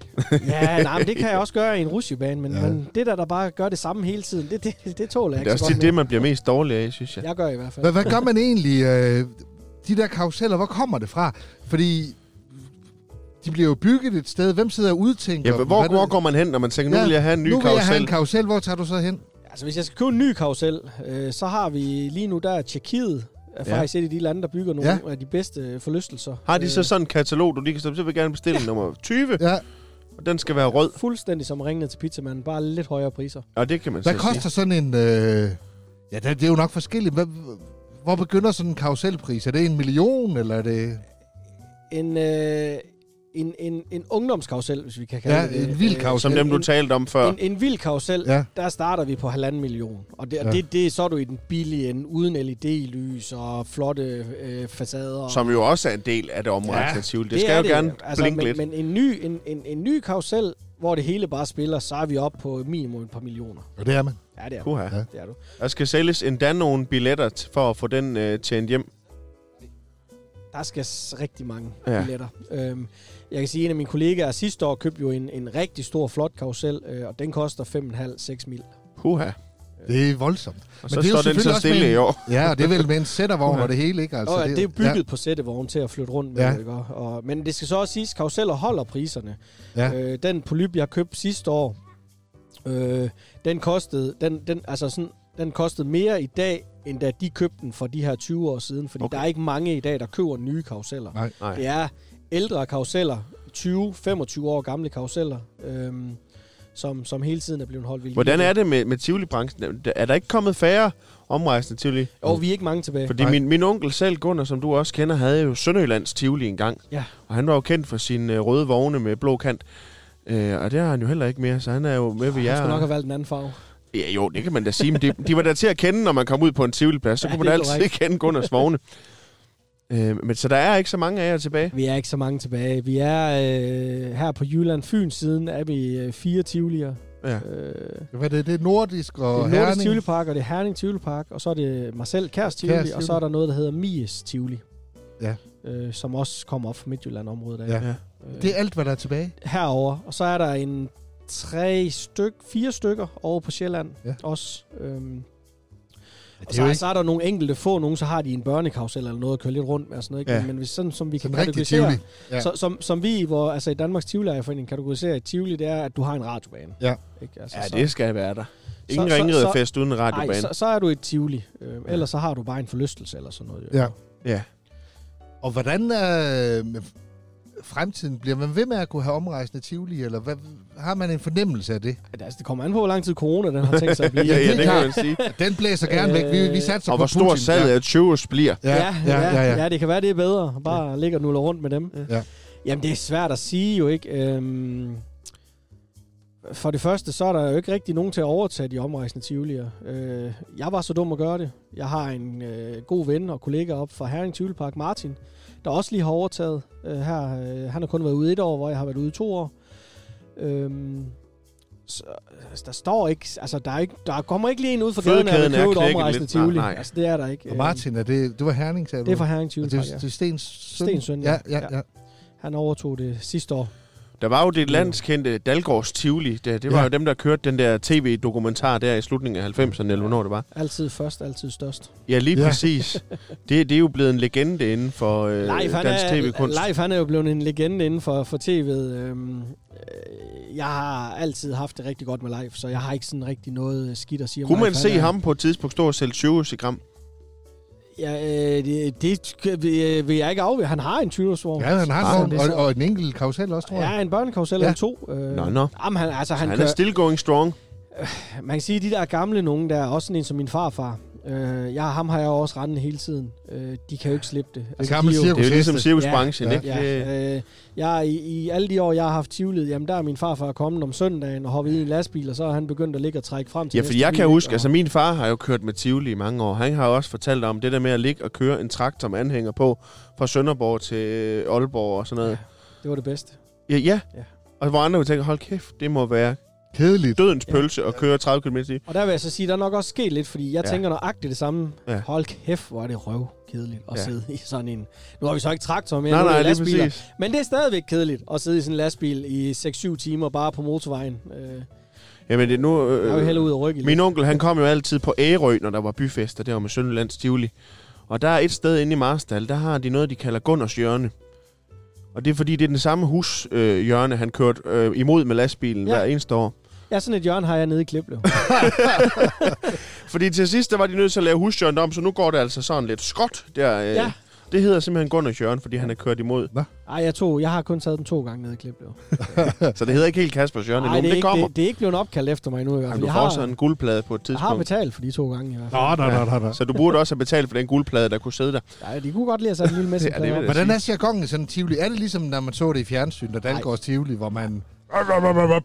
S3: ja nej, men det kan jeg også gøre i en rusjebane, men,
S2: Ja.
S3: ja. men det der, der bare gør det samme hele tiden, det, det, det tåler
S1: Det
S3: jeg ikke
S1: er
S3: så
S1: også
S3: godt
S1: tit det, man bliver mest dårlig af, synes jeg.
S3: mere. Jeg gør i hvert fald.
S2: Hvad, hvad gør man egentlig? Øh, de der karuseller, hvor kommer det fra? Fordi de bliver jo bygget et sted. Hvem sidder og udtænker?
S1: Ja,
S2: dem?
S1: hvor,
S2: Hvad-
S1: hvor går man hen, når man tænker, nu
S2: Ja,
S1: vil jeg have en ny
S2: nu vil jeg have
S1: karusel?
S2: en karusel. Hvor tager du så hen?
S3: Altså, hvis jeg skal købe en ny karusel, øh, så har vi lige nu, der er Tjekkiet, er
S1: Ja.
S3: faktisk et af de lande, der bygger nogle
S2: Ja.
S3: af de bedste øh, forlystelser.
S1: Har de så
S3: Øh,
S1: sådan en katalog, du lige kan stå, så vil jeg gerne bestille nummer 20,
S2: Ja.
S1: og den skal være rød.
S3: Fuldstændig som ringene til pizzamanden, bare lidt højere priser.
S1: Og det kan man
S2: Hvad
S1: så
S2: koster sådan en... Øh, ja, det, det er jo nok forskelligt. Hvad, hvor begynder sådan en karuselpris? Er det en million, eller er det...
S3: En, øh, en, en, en ungdomskarusel, hvis vi kan kalde
S2: Ja,
S3: det det.
S2: en vild
S3: Øh,
S1: sige.
S2: karrusel.
S1: Som dem, du
S3: en-
S1: talte om før.
S3: En, en vild karusel,
S2: Ja.
S3: ja. der starter vi på halvanden million. Og det,
S2: Ja.
S3: ja. det, det, så er du i den billige ende, uden LED-lys og flotte øh, facader. Altså,
S1: Som jo også er en del af det omrejsende
S2: Ja,
S1: ja, Tivoli. Det, skal jo gerne blinke
S3: men,
S1: lidt.
S3: Men en ny, en, en, en ny karusel, hvor det hele bare spiller, så er vi oppe på minimum et par millioner.
S2: Og det er man.
S3: Ja, det er du.
S1: Puha.
S2: Ja.
S3: Det er du.
S1: Der skal sælges endda nogle billetter t- for at få den øh, tjent hjem.
S3: Der skal s- rigtig mange
S1: Ja.
S3: ja. billetter. Øhm, jeg kan sige, at en af mine kollegaer sidste år købte jo en, en rigtig stor, flot karusel, øh, og den koster 5,5-6 mil.
S1: Puha.
S2: Det er voldsomt.
S1: Og
S2: Men
S1: så
S2: det er jo
S1: står den
S2: selvfølgelig
S1: så
S2: også
S1: stille
S2: med-
S1: i år.
S2: Ja, og det er vel med en sættervogn og det hele, ikke?
S3: Altså, og det, det er
S2: Ja,
S3: bygget ja. på sættevogn til at flytte rundt med.
S2: Ja.
S3: Ja. Ikke? Og, og, men det skal så også siges, at karuseller holder priserne.
S2: ja.
S3: Øh, den polyp, jeg købte sidste år, øh, den kostede den, den, altså sådan, den kostede mere i dag, end da de købte den for de her 20 år siden. Fordi
S1: Okay.
S3: okay. der er ikke mange i dag, der køber nye karuseller.
S2: Nej.
S1: Nej.
S3: Det er ældre karuseller, 20-25 år gamle karuseller, øhm, som, som hele tiden er blevet holdt ved lige.
S1: Hvordan er det med, med Tivoli-branchen? Er- Er der ikke kommet færre omrejsende Tivoli?
S3: Og vi er ikke mange tilbage.
S1: Fordi
S2: Nej.
S1: min, min onkel selv, Gunnar, som du også kender, havde jo Sønderjyllands Tivoli engang.
S3: Ja.
S1: Og han var jo kendt for sine øh, røde vogne med blå kant. Øh, og det har han jo heller ikke mere, så han er jo med ved
S3: Jeg skulle nok
S1: jer.
S3: have valgt en anden farve.
S1: Ja, jo, det kan man da sige. Men de, de var da til at kende, når man kom ud på en Tivoli-plads. Så ja,
S3: Ja,
S1: kunne
S3: det
S1: man
S3: er
S1: altid
S3: korrekt.
S1: kende Gunnars vogne. øh, men så der er ikke så mange af jer tilbage.
S3: Vi er ikke så mange tilbage. Vi er øh, her på Jylland Fyn siden er vi øh, fire tivolier.
S1: Ja.
S3: Øh,
S2: Hvad er det? Det er nordisk
S3: det
S2: og
S3: er Nordisk
S2: herning.
S3: Tivolipark, og det er Herning Tivolipark, og så er det Marcel Kærs Tivoli,
S2: Kjærs
S3: og så
S2: Tivoli.
S3: er der noget, der hedder Mies Tivoli.
S2: Ja.
S3: Øh, som også kommer op fra Midtjylland-området. af.
S2: Ja.
S1: Ja.
S3: Øh,
S2: Det er alt, hvad der er tilbage.
S3: herover og så er der en tre styk, fire stykker over på Sjælland
S2: Ja.
S3: ja. også. Øhm, Og
S2: det
S3: så,
S2: er jo
S3: ikke...
S2: ikke-
S3: så er der nogle enkelte få, nogen så har de en børnekarusel eller noget at køre lidt rundt med og sådan noget. Ikke?
S1: Ja.
S3: Ja. Men hvis sådan, som vi kan
S2: Sådan rigtig
S3: kategorisere,
S2: tivoli. Ja.
S3: ja. så, som, som vi hvor, altså, i Danmarks Tivoliforening kategoriserer i Tivoli, det er, at du har en radiobane.
S2: Ja.
S3: Ikke? Altså,
S1: Ja,
S3: så-
S1: det skal være der. Ingen
S3: så-
S1: ringriderfest uden en
S3: Ej,
S1: radiobane.
S3: så, så er du i Tivoli. Øh, ellers så har du bare en forlystelse eller sådan noget. Jo.
S2: Ja.
S1: Ja.
S2: Og hvordan er øh, fremtiden? Bliver man ved med at kunne have omrejsende Tivoli, eller hvad, har man en fornemmelse af det?
S3: Altså, det kommer an på, hvor lang tid corona den har tænkt sig at blive.
S1: Ja, ja, det kan
S2: klart.
S1: man sige.
S2: Den blæser gerne væk. Vi, vi satser
S1: Og
S2: på
S1: hvor stor
S2: Putin.
S1: salget af 20 bliver.
S3: Øh, Ja, ja, ja, ja. ja, det kan være, det er bedre. Bare ja. ligge og nuller rundt med dem.
S2: Ja.
S3: Jamen, det er svært at sige jo ikke. Øhm, for det første, så er der jo ikke rigtig nogen til at overtage de omrejsende tivolier. Øh, jeg var så dum at gøre det. Jeg har en øh, god ven og kollega op fra Herring Tivolipark, Martin, der også lige har overtaget øh, her. Øh, han har kun været ude et år, hvor jeg har været ude i to år. Øhm, så, altså, der står ikke, altså der, er ikke, der kommer ikke lige en ud fra gaden, der vil
S1: Fødekæden er
S3: købe et
S1: knækket
S3: omrejsende
S1: lidt. Nej,
S3: tivoli.
S1: nej.
S3: Altså det er der ikke.
S2: Og Martin, er det, det var Herning, sagde
S3: Øh, det er
S2: du?
S3: fra Herring
S2: Og det,
S3: Tivolipark,
S2: er-
S3: ja.
S2: det er Stens søn.
S3: Stens søn,
S2: ja.
S3: ja.
S2: Ja, ja,
S3: Ja. Han overtog det sidste år.
S1: Der var jo det landskendte Dalgårds Tivoli. Det, det var
S2: Ja.
S1: ja. jo dem, der kørte den der tv-dokumentar der i slutningen af 90'erne, eller hvornår det var.
S3: Altid først, altid størst.
S1: Ja, lige
S2: Ja.
S1: ja. præcis. Det, det er jo blevet en legende inden for øh,
S3: Leif, han
S1: dansk
S3: er,
S1: tv-kunst.
S3: Leif, han er jo blevet en legende inden for, for tv'et. Øhm, øh, jeg har altid haft det rigtig godt med Leif, så jeg har ikke sådan rigtig noget øh, skidt at sige om
S1: Kunne man
S3: Leif,
S1: se
S3: han er-
S1: ham på et tidspunkt stå og sælge 20 i gram?
S3: Ja, øh, det, det øh, vil- vil jeg ikke afvære. Han har en 20-årsvogn.
S2: ja han har
S3: Så
S2: en
S3: det er
S2: og,
S3: så-
S2: og en enkelt karusel også, tror jeg.
S3: Ja, en børnekarusel
S2: Ja.
S3: eller to. Øh,
S1: Nå, nå.
S3: Jamen, han, altså, han,
S1: Han, han
S3: kører,
S1: er still going strong.
S3: Man kan sige, at de der gamle nogen, der er også sådan en som min farfar. Øh, jeg, ham har jeg jo også rendende hele tiden. Øh, de kan jo ikke slippe det. Altså,
S2: Det
S3: de
S2: gamle
S3: er jo-
S1: Det er jo ligesom
S2: Ja.
S1: cirkusbranchen,
S2: Ja.
S1: ja. ikke? Det,
S3: Ja, øh, jeg, i, I alle de år, jeg har haft tivlet, jamen der er min farfar kommet om søndagen og hoppet i en lastbil, og så er han begyndt at ligge og trække frem til
S1: ja, for
S3: næste
S1: jeg
S3: bil,
S1: kan
S3: ikke?
S1: huske,
S3: Og-
S1: altså min far har jo kørt med Tivoli i mange år. Han har jo også fortalt om det der med at ligge og køre en traktor med anhænger på fra Sønderborg til øh, Aalborg og sådan noget.
S3: Det var det bedste.
S1: Ja, ja.
S3: Ja.
S1: Og hvor andre vil tænke, hold kæft, det må være
S2: Kedeligt.
S1: dødens
S3: Ja.
S1: pølse at køre 30 km i.
S3: Og der vil jeg så sige, der er nok også sket lidt, fordi jeg
S1: Ja.
S3: ja. tænker nøjagtigt det samme.
S1: Ja.
S3: Ja. Hold kæft, hvor er det røv kedeligt at
S1: Ja.
S3: ja. sidde i sådan en... Nu har vi så ikke traktor mere,
S1: Nej,
S3: nu er
S1: nej,
S3: det
S1: lige
S3: lastbiler.
S1: præcis.
S3: Men det er stadigvæk kedeligt at sidde i sådan en lastbil i 6-7 timer bare på motorvejen. Øh,
S1: Jamen, det er nu...
S3: jeg er jo
S1: Øh,
S3: hellere ud og rykke
S1: min onkel, han kom jo altid på Ærø, når der var byfester der med Sønderlands Tivoli. Og der er et sted inde i Marstal, der har de noget, de kalder Gunners Hjørne. Og det er fordi, det er den samme hushjørne, øh, hjørne, han kørte øh, imod med lastbilen ja.
S3: Ja.
S1: hver eneste år.
S3: Ja, sådan et hjørne har jeg nede i Kliplev.
S1: Fordi til sidst, der var de nødt til at lave hushjørnet om, så nu går det altså sådan lidt skråt der. Øh,
S3: ja.
S1: ja. Det hedder simpelthen Gunners Hjørne, fordi han er kørt imod.
S3: Ej, jeg, tog, jeg har kun taget dem to gange nede i Kliplev.
S1: Så det hedder ikke helt Kaspers Hjørne endnu,
S3: Nej, det,
S1: men
S3: er
S1: det
S3: ikke,
S1: kommer.
S3: det, det er ikke blevet opkaldt efter mig nu i hvert
S1: Jamen,
S3: fald.
S1: du
S3: Jeg
S1: får
S3: har,
S1: sådan en guldplade på et
S3: jeg har
S1: tidspunkt.
S3: betalt for de to gange i hvert fald.
S2: Nå, nå, nå, nå, nå.
S1: Så du burde også have betalt for den guldplade, der kunne sidde der.
S3: Nej, de kunne godt lide at sætte en lille
S1: Ja, det
S3: messeplade
S1: vil
S3: op.
S1: jeg
S2: Hvordan
S1: sige.
S2: er jargonen i sådan en Tivoli? Er det ligesom, når man så det i fjernsyn, der Dalgårds Tivoli, hvor man...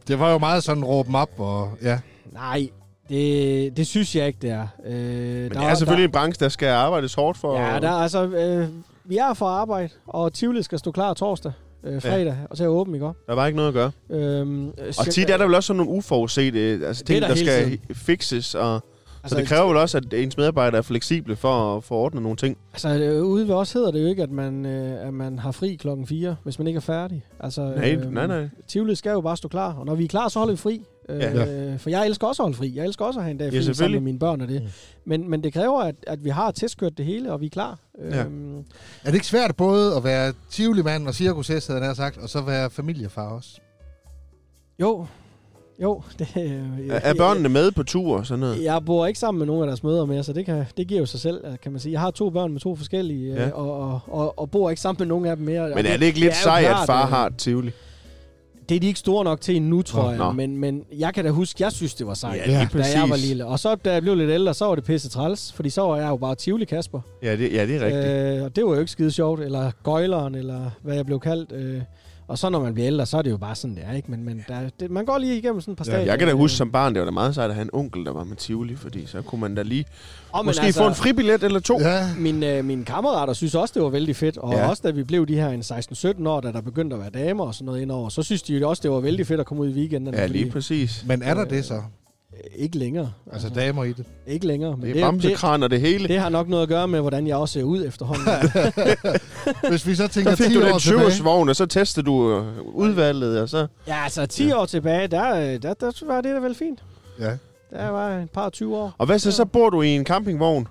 S2: Det var jo meget sådan råben op, og ja.
S3: Nej, det, det synes jeg ikke, det er. Øh, Men
S1: Men der, det er selvfølgelig der... en branche, der skal arbejdes hårdt for.
S3: Der, ja, der er altså... Øh, vi er for arbejde, og Tivoli skal stå klar torsdag, øh, fredag, og så er åben, ikke? også?
S1: der var ikke noget at gøre.
S3: Øhm,
S1: Og tit er der vel også sådan nogle uforudsete øh, altså,
S3: Det er
S1: ting, der,
S3: der
S1: der
S3: hele
S1: skal
S3: tiden.
S1: fixes. Og, altså, så det kræver vel også, at ens medarbejdere er fleksible for at få ordnet nogle ting.
S3: Altså, øh, ude ved os hedder det jo ikke, at man, øh, at man har fri klokken 4, hvis man ikke er færdig. Altså,
S1: Nej, nej, nej.
S3: Tivoli skal jo bare stå klar, og når vi er klar, så holder vi fri. Øh,
S2: Ja.
S3: ja. For jeg elsker også at holde fri. Jeg elsker også at have en dag
S1: Ja,
S3: fri ja, sammen
S1: selvfølgelig.
S3: med mine børn og det.
S2: Mm.
S3: Men, men det kræver, at, at vi har testkørt det hele, og vi er klar.
S1: Ja.
S3: Øhm,
S2: Er det ikke svært både at være Tivoli-mand og cirkushest, havde jeg nær sagt, og så være familiefar også?
S3: jo, jo. Det, øh,
S1: Er, er børnene med på tur og sådan noget?
S3: Jeg bor ikke sammen med nogen af deres mødre mere, så det, kan, det giver jo sig selv, øh, kan man sige. Jeg har to børn med to forskellige,
S1: Ja.
S3: ja. og, og, og, og bor ikke sammen med nogen af dem mere.
S1: Men er det ikke lidt
S3: jo
S1: sejt, at
S3: klart,
S1: far
S3: øh,
S1: har et tivoli?
S3: Det er de ikke store nok til endnu, tror
S2: Nå,
S3: nå, jeg.
S1: nå.
S3: Men, men jeg kan da huske, jeg synes, det var sejt.
S1: Ja,
S2: lige
S3: da jeg var lille. Og så, da jeg blev lidt ældre, så var det pisse træls. Fordi så var jeg jo bare Tivoli Kasper.
S1: Ja, det, ja, det er rigtigt.
S3: Øh, og det var jo ikke skide sjovt. Eller gøjleren, eller hvad jeg blev kaldt. Øh. Og så når man bliver ældre, så er det jo bare sådan, det er. Ikke? Men, men der, det, man går lige igennem sådan et par
S2: Ja,
S3: ja, stadier.
S1: Jeg kan da huske som barn, det var da meget sejt at have en onkel, der var med Tivoli, fordi så kunne man da lige
S3: og,
S1: måske altså, få en fribillet eller to. Ja.
S2: Ja.
S3: Min, øh, mine kammerater synes også, det var vældig fedt. Og
S1: Ja.
S3: ja. også da vi blev de her en 16-17 år, da der begyndte at være damer og sådan noget indover, så synes de jo også, det var vældig fedt at komme ud i weekenden.
S1: Ja, lige præcis.
S2: Men er der det så?
S3: Ikke længere.
S2: Altså damer i det?
S3: ikke længere. Men
S1: Det er bamsekran og det hele.
S3: Det har nok noget at gøre med, hvordan jeg også ser ud efterhånden.
S2: Hvis vi så tænker
S1: Så
S2: 10
S1: fik du
S2: år
S1: den
S2: tilbage...
S1: 20-årsvogn, og så testede du øh, udvalget, og så...
S3: ja, altså 10 år tilbage, der, øh, der, der var det da vel fint.
S2: Ja.
S3: Der var en par 20 år.
S1: Og hvad så, så bor du i en campingvogn?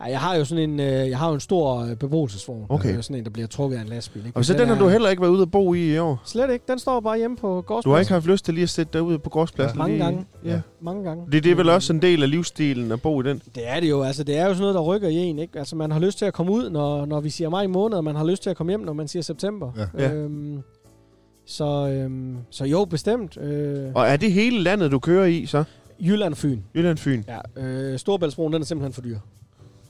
S3: Ej, jeg har jo sådan en, øh, jeg har jo en stor øh, beboelsesvogn.
S1: Okay.
S3: Det er jo sådan en, der bliver trukket af en lastbil. Ikke?
S1: Og så den, har du heller ikke været ude at bo i i år.
S3: Slet ikke. Den står bare hjemme på gårdspladsen.
S1: Du har ikke haft lyst til lige at sætte dig ud på gårdspladsen?
S3: Mange
S1: lige-
S3: gange.
S1: Ja.
S3: Mange gange.
S1: Det, det er vel også en del af livsstilen at bo i den.
S3: Det er det jo. Altså, det er jo sådan noget, der rykker i en. Ikke? Altså, man har lyst til at komme ud, når, når vi siger maj måned, og man har lyst til at komme hjem, når man siger september.
S1: Ja. Ja.
S3: Øhm, så, øhm, så jo, bestemt. Øh,
S1: Og er det hele landet, du kører i så?
S3: Jylland og Fyn.
S1: Jylland Fyn?
S3: Ja, øh, Storbæltsbroen, den er simpelthen for dyr.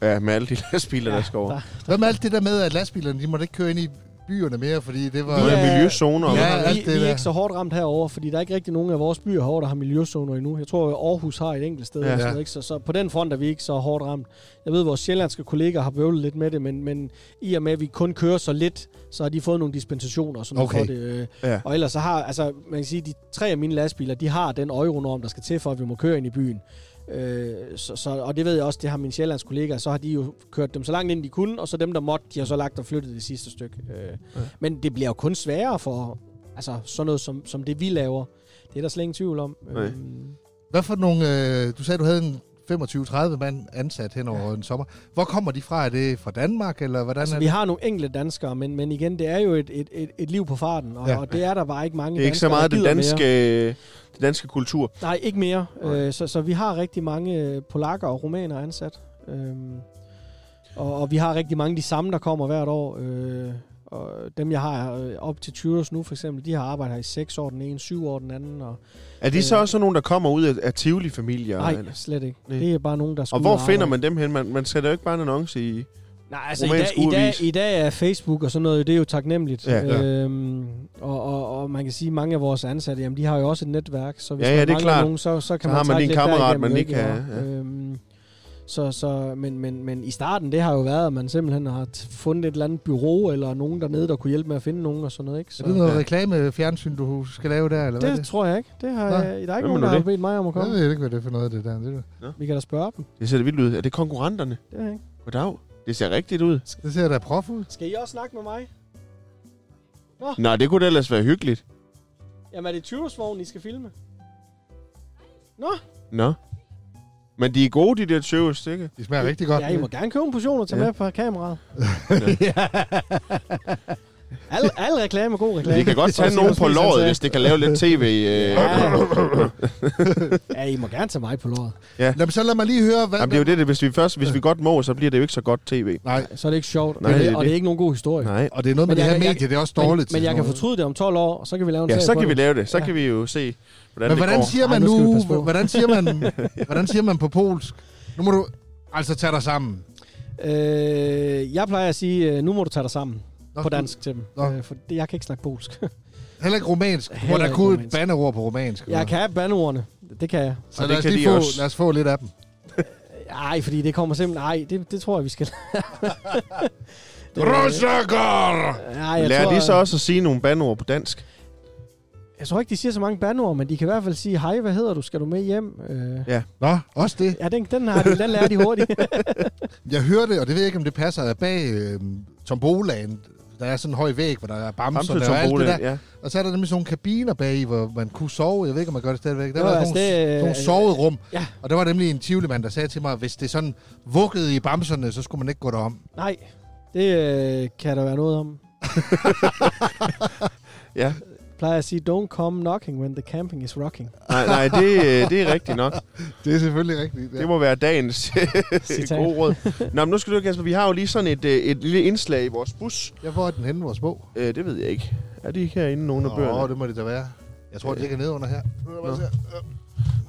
S1: Ja, med alle de lastbiler, ja, der skal over. Der,
S2: Hvad med alt det der med, at lastbilerne, de måtte ikke køre ind i byerne mere, fordi det var...
S1: der
S3: Vi
S1: er
S3: er-
S1: miljøzoner.
S2: Ja,
S1: Ja.
S3: vi,
S2: alt det
S3: vi
S2: der.
S3: er ikke så hårdt ramt herover, fordi der er ikke rigtig nogen af vores byer herovre, der har miljøzoner endnu. Jeg tror, at Aarhus har et enkelt sted.
S1: Ja.
S3: Ja. Eller sådan
S2: Ja.
S3: noget, ikke? Så, så på den front er vi ikke så hårdt ramt. Jeg ved, at vores sjællandske kollegaer har bøvlet lidt med det, men, men i og med, at vi kun kører så lidt, så har de fået nogle dispensationer og sådan okay.
S2: Okay.
S3: for det. øh.
S1: Ja.
S3: Og ellers så har, altså man kan sige, de tre af mine lastbiler, de har den euronorm, der skal til for, at vi må køre ind i byen. Øh, så, så, og det ved jeg også, det har mine sjællands kollegaer, så har de jo kørt dem så langt ind de kunne, og så dem, der måtte, de har så lagt og flyttet det sidste stykke. Øh,
S1: Ja.
S3: ja. Men det bliver jo kun sværere for altså, sådan noget som, som det, vi laver. Det er der slet ingen tvivl om.
S1: Nej.
S3: Øhm,
S2: Hvad for nogle... Øh, du sagde, du havde en 25-30 mand ansat hen over en sommer. Hvor kommer de fra? Er det fra Danmark, eller hvordan
S3: altså,
S2: er
S3: vi
S2: det?
S3: har nogle enkelte danskere, men, men igen, det er jo et, et, et, et liv på farten, og,
S2: Ja.
S3: ja. og det er der bare ikke mange
S1: Det er ikke så
S3: danskere,
S1: meget
S3: der
S1: det
S3: gider mere.
S1: danske, det danske kultur.
S3: Nej, ikke mere.
S1: Nej.
S3: Øh, så, så vi har rigtig mange øh, polakker og rumæner ansat. Øhm, og, og vi har rigtig mange af de samme, der kommer hvert år. Øh, og dem, jeg har øh, op til 20 års nu, for eksempel, de har arbejdet her i 6 år den ene, 7 år den anden. Og,
S1: Er de så
S3: Øh.
S1: også sådan nogen, der kommer ud af, af Tivoli-familier?
S3: nej,
S1: eller-
S3: slet ikke.
S1: Nej.
S3: Det er bare nogen, der skal
S1: Og
S3: ud
S1: hvor
S3: arbejde.
S1: finder man dem hen? Man, man sætter jo ikke bare en annonce i...
S3: Nej, altså i dag,
S1: Romansk
S3: i, dag,
S1: ugeavis.
S3: i dag er Facebook og sådan noget, det er jo taknemmeligt.
S1: Ja,
S2: ja.
S3: Øhm, og, og, og man kan sige, at mange af vores ansatte, jamen, de har jo også et netværk, så hvis
S1: Ja,
S3: man
S1: ja, det er
S3: mangler
S1: klart.
S3: nogen, så, så kan
S1: Så har man
S3: trække
S1: din
S3: lidt
S1: kammerat,
S3: derigennem,
S1: man
S3: ikke?
S1: lige kan-
S3: Ja. Øhm, så, så, men, men, men i starten, det har jo været, at man simpelthen har t- fundet et eller andet bureau, eller nogen dernede, der kunne hjælpe med at finde nogen og sådan noget. Ikke? Så,
S2: Er det noget
S1: Ja.
S2: reklamefjernsyn, du skal lave der, eller hvad er
S3: det tror jeg ikke. Det har,
S2: Nå.
S3: jeg, der er ikke
S1: Hvem er
S3: nogen,
S1: nu
S3: der har
S1: det?
S3: bedt mig om at
S2: Jeg
S3: komme.
S2: ved ikke, hvad det er for noget, det der. Det, er-
S3: Vi kan da spørge dem.
S1: Det ser da vildt ud. Er det konkurrenterne?
S3: Det er jeg ikke.
S1: Goddag. Det ser rigtigt ud.
S2: det ser da prof ud.
S3: Skal I også snakke med mig?
S1: Nej, det kunne da ellers være hyggeligt.
S3: Jamen, er det 20 I skal filme?
S1: Nå. Men de er gode, de der tøves, ikke?
S2: De smager rigtig godt.
S3: Ja, I må gerne købe en portion og tage
S1: Ja.
S3: ja. med på kameraet. Al, al reklame er god reklame.
S1: Vi kan godt tage
S3: Også
S1: nogen
S3: også
S1: på
S3: lige sådan
S1: låret,
S3: sagde.
S1: hvis det kan lave lidt tv. Øh.
S3: Ah. Ja, I må gerne tage mig på låret.
S2: Nå, men så lad mig lige høre, hvad...
S1: Jamen, det er jo det, det, hvis vi først, hvis vi godt må, så bliver det jo ikke så godt tv.
S2: Nej,
S3: Så er det ikke sjovt,
S1: Nej,
S3: Nej, og,
S1: det
S3: det,
S1: er
S3: og
S1: det.
S3: det er ikke nogen god historie.
S1: Nej.
S2: og det er noget med
S3: Men
S2: det
S3: jeg-
S2: her
S3: jeg-
S2: medie, det er også
S3: Men,
S2: dårligt.
S3: men
S2: til
S3: jeg
S2: sådan
S3: kan
S2: noget.
S3: fortryde det om 12 år, og så kan vi lave en
S1: Ja,
S3: serie
S1: så
S3: på
S1: kan vi
S3: det.
S1: lave det. Så
S3: Ja.
S1: kan vi jo se, hvordan
S2: Men
S1: det
S2: hvordan
S1: går.
S2: siger
S3: Ej,
S2: man
S3: nu skal vi
S2: nu...
S3: passe på.
S2: Hvordan siger man, hvordan siger man på polsk? Nu må du altså tage dig sammen.
S3: Øh, jeg plejer at sige, øh, nu må du tage dig sammen
S2: Nå,
S3: på dansk til dem.
S2: Nå.
S3: Øh, for det, jeg kan ikke snakke polsk.
S2: Heller ikke romansk. Hvor
S3: Heller
S2: der
S3: ikke
S2: kunne et
S3: romansk.
S2: bandeord på romansk.
S3: jeg kan have bandordene. Det kan jeg.
S2: Så
S1: Og
S2: lad
S1: det
S2: os,
S1: kan
S2: lige
S1: de
S2: få,
S1: også.
S2: lad os få lidt af dem.
S3: Ej, fordi det kommer simpelthen... Ej, det, det tror jeg, vi skal...
S2: Rosagor!
S3: Nej, jeg
S1: Lærer
S3: tror, øh,
S1: de så også at sige nogle bandord på dansk?
S3: Jeg tror ikke, de siger så mange bandord, men de kan i hvert fald sige, hej, hvad hedder du, skal du med hjem? Øh,
S2: Nå, også det.
S3: ja, den, den, har de, den lærer de hurtigt.
S2: Jeg hørte, og det ved jeg ikke, om det passer, at bag øh, tombolaen, der er sådan en høj væg, hvor der er bamser
S1: Bamse
S2: og alt det der.
S1: ja.
S2: Og så er der nemlig sådan nogle kabiner bag, hvor man kunne sove. Jeg ved ikke, om man gør det stadigvæk. Der
S3: Jo,
S2: var
S3: altså,
S2: sådan nogle,
S3: det, øh,
S2: nogle sovet rum.
S3: ja.
S2: Og der var nemlig en tivlemand, der sagde til mig, at hvis det sådan vuggede i bamserne, så skulle man ikke gå derom.
S3: Nej, det øh, kan der være noget om.
S1: ja.
S3: Jeg plejer at sige, don't come knocking when the camping is rocking.
S1: Nej, nej, det, øh, det er rigtigt nok.
S2: Det er selvfølgelig rigtigt. Ja.
S1: Det må være dagens øh,
S3: Citat.
S1: gode råd. Nå, men nu skal du, Kasper, vi har jo lige sådan et, øh, et lille indslag i vores bus.
S2: Jeg får den henne, vores bog.
S1: Øh, det ved jeg ikke. Er de herinde nogen af
S2: Nå,
S1: bøgerne?
S2: det må det da være. Jeg tror, det
S1: Øh.
S2: ligger nede under her.
S1: Nå.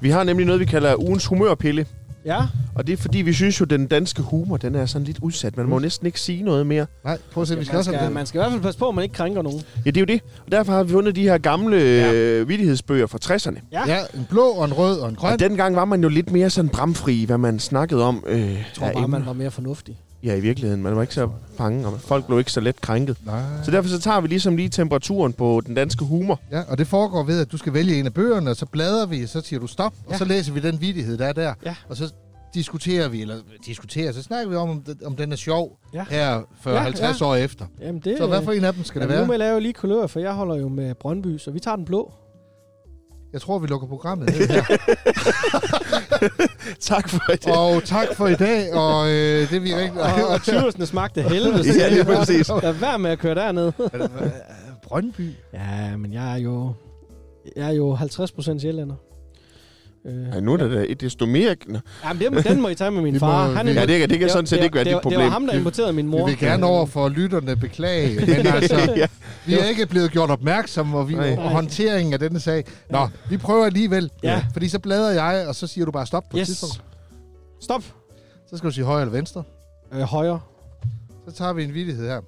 S1: Vi har nemlig noget, vi kalder ugens humørpille.
S3: Ja,
S1: Og det er fordi, vi synes jo, at den danske humor, den er sådan lidt udsat. Man må næsten ikke sige noget mere.
S2: Nej, prøv at se, vi skal
S3: man,
S2: også have
S3: skal,
S2: den.
S3: man skal i hvert fald passe på, at man ikke krænker nogen.
S1: Ja, det er jo det. Og derfor har vi fundet de her gamle øh, vittighedsbøger fra 60'erne.
S3: Ja.
S2: Ja, en blå og en rød og en grøn.
S1: Og dengang var man jo lidt mere sådan bramfri, i, hvad man snakkede om. Øh, jeg
S3: Jeg tror bare, man var mere fornuftig.
S1: Ja, i virkeligheden. Man var ikke så bange, og folk blev ikke så let krænket.
S2: Nej.
S1: Så derfor så tager vi ligesom lige temperaturen på den danske humor.
S2: Ja, og det foregår ved, at du skal vælge en af bøgerne, og så bladrer vi, og så siger du stop, ja. og
S3: Ja.
S2: så læser vi den vidighed, der er der.
S3: Ja.
S2: Og så diskuterer vi, eller diskuterer, så snakker vi om, om den- om den er sjov ja.
S3: Ja.
S2: her 40-50
S3: Ja,
S2: ja.
S3: ja.
S2: år efter.
S3: Jamen, det, øh,
S2: Så hvad for en af dem skal det
S3: jamen,
S2: være?
S3: Nu med lave lige kulør, for jeg holder jo med Brøndby, så vi tager den blå.
S2: Jeg tror, vi lukker programmet. ned her.
S1: tak for det.
S2: Og tak for i dag, og øh, det er vi rigtig...
S3: Og, og Tyvelsen smagte helvede.
S1: Ja, lige præcis.
S3: Lad være med at køre derned.
S2: Brøndby.
S3: ja, men jeg er jo, jeg er jo 50% sjællander. Øh,
S1: Ej, nu er det da et desto mere... Nå.
S3: Jamen, den, den må I tage med min
S2: Vi må-
S3: far. Han
S1: Ja, det, kan- det kan sådan set
S3: var-
S1: ikke være
S3: det,
S1: dit
S3: var-
S1: problem.
S3: Det var ham, der importerede min mor.
S2: Vi vil gerne over for lytterne beklage, men altså,
S1: ja.
S2: vi er ikke blevet gjort opmærksom og vi,
S1: Nej.
S2: og håndteringen af denne sag. Nå, vi prøver alligevel,
S3: Ja.
S2: fordi så bladrer jeg, og så siger du bare stop på yes. et
S3: Yes.
S2: tidspunkt.
S3: Stop.
S2: Så skal du sige højre eller venstre.
S3: Øh, højre.
S2: Så tager vi en vidighed her.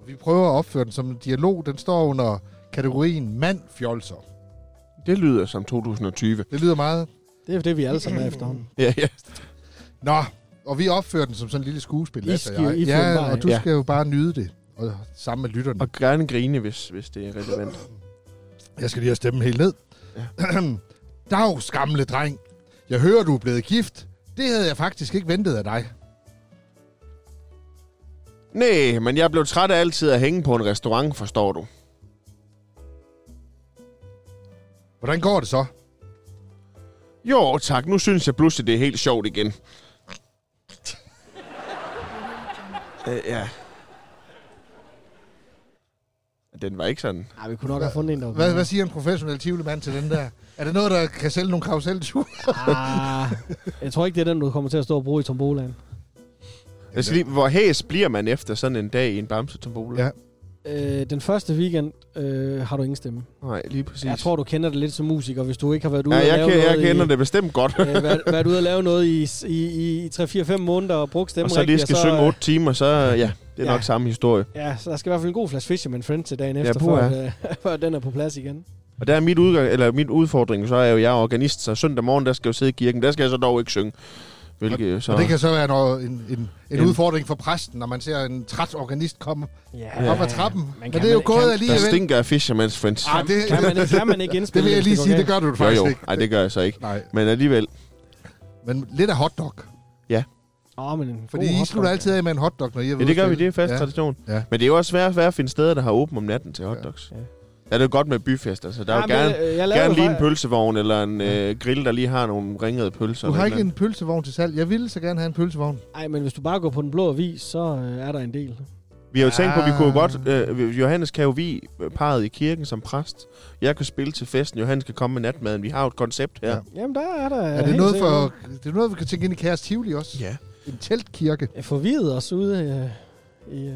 S2: Og vi prøver at opføre den som en dialog. Den står under kategorien mand fjolser.
S1: Det lyder som 2020.
S2: Det lyder meget.
S3: Det er det, vi alle sammen er efterhånden.
S1: Ja, ja.
S2: Nå, og vi opfører den som sådan en lille skuespil.
S3: I
S2: Lasse og
S3: skal jo-
S2: jeg.
S3: I får den
S2: ja,
S3: bare,
S2: og du
S1: ja.
S2: skal jo bare nyde det. Og sammen med lytterne.
S1: Og gerne grine, hvis, hvis det er relevant.
S2: Jeg skal lige have stemmen helt ned.
S1: Ja.
S2: Dag, skamle dreng. Jeg hører, du er blevet gift. Det havde jeg faktisk ikke ventet af dig.
S1: Nej, men jeg blev træt af altid at hænge på en restaurant, forstår du.
S2: Hvordan går det så?
S1: Jo, tak. Nu synes jeg pludselig, det er helt sjovt igen. øh, ja. Den var ikke sådan.
S3: Nej, vi kunne nok have fundet en, der var
S2: Hvad, hvad siger en professionel tivlemand til den der? Er det noget, der kan sælge nogle karuselture?
S3: Ah, jeg tror ikke, det er den, du kommer til at stå og bruge i tombolaen.
S1: Jeg skal lige, hvor hæs bliver man efter sådan en dag i en bamsetombola?
S2: Ja.
S3: Øh, den første weekend øh, har du ingen stemme.
S1: Nej, lige præcis.
S3: Jeg tror, du kender det lidt som musiker, hvis du ikke har været ude
S1: ja,
S3: og
S1: jeg,
S3: lave
S1: kan, jeg
S3: noget
S1: kender
S3: i,
S1: det bestemt godt.
S3: Øh, været, været ude og lave noget i, i, i, i 3-4-5 måneder og brugt stemmen
S1: og så lige
S3: rigtigt,
S1: skal
S3: og
S1: synge 8 timer, så øh, ja, det er
S3: Ja.
S1: nok samme historie.
S3: Ja, så der skal i hvert fald en god flaske Fisherman Friend til dagen
S1: Ja,
S3: efter, før,
S1: puha.
S3: at, øh, før den er på plads igen.
S1: Og der er mit, udgang, eller mit udfordring, så er jo, jeg er organist, så søndag morgen, der skal jeg jo sidde i kirken. Der skal jeg så dog ikke synge. Hvilket jo så...
S2: Og det kan så være noget, en, en, en
S1: En-
S2: udfordring for præsten, når man ser en træt organist komme
S3: Ja,
S2: op ad trappen.
S3: man
S2: Men
S3: kan-
S2: det er jo
S3: man-
S2: gået
S3: kan-
S1: der
S2: alligevel.
S1: stinker af Fisherman's Friends.
S2: Ej, det,
S3: Kan man,
S2: det,
S3: kan man ikke
S2: det
S3: indspille
S2: vil jeg
S3: hvis
S2: lige
S3: går
S2: sige, det
S3: galt?
S2: gør du
S1: Jo,
S2: faktisk
S1: jo.
S2: ikke.
S1: Nej, det gør jeg så ikke.
S2: Nej,
S1: Men alligevel.
S2: men lidt af hotdog.
S3: Åh, men en
S2: Fordi
S3: god
S2: I
S3: hotdog,
S2: slutter
S3: ja.
S2: altid af med en hotdog, når I er
S1: Ja,
S2: ude
S1: det gør
S2: at
S1: vi,
S2: spille.
S1: det er fast
S2: Ja.
S1: ja. tradition.
S2: Ja.
S1: Ja. Men det er jo også svært, svært at finde steder, der har åbent om natten til hotdogs.
S3: Ja.
S1: Ja.
S3: Ja.
S1: Ja. Der er det jo godt med byfester, så der er jo
S3: Ja, men,
S1: gerne,
S3: øh, jeg lavede
S1: gerne lige en
S3: faktisk-
S1: pølsevogn eller en øh, grill, der lige har nogle ringede pølser.
S2: Du har
S1: eller
S2: ikke
S1: et
S2: en pølsevogn til salg. Jeg ville så gerne have en pølsevogn.
S3: Ej, men hvis du bare går på den blå avis, så øh, er der en del.
S1: Vi har jo tænkt på, at vi kunne jo
S2: Ah.
S1: godt... Øh, Johannes kan jo vi parret i kirken som præst. Jeg kan spille til festen, Johannes kan komme med natmaden. Vi har jo et koncept her.
S2: Ja.
S1: Ja.
S3: Jamen, der er der
S2: Er det
S3: helt
S2: noget, for,
S3: sikkert
S2: det er noget, vi kan tænke ind i Kæres Tivoli også?
S1: ja.
S2: En teltkirke.
S3: Jeg forvirrede os ude øh, i... Øh.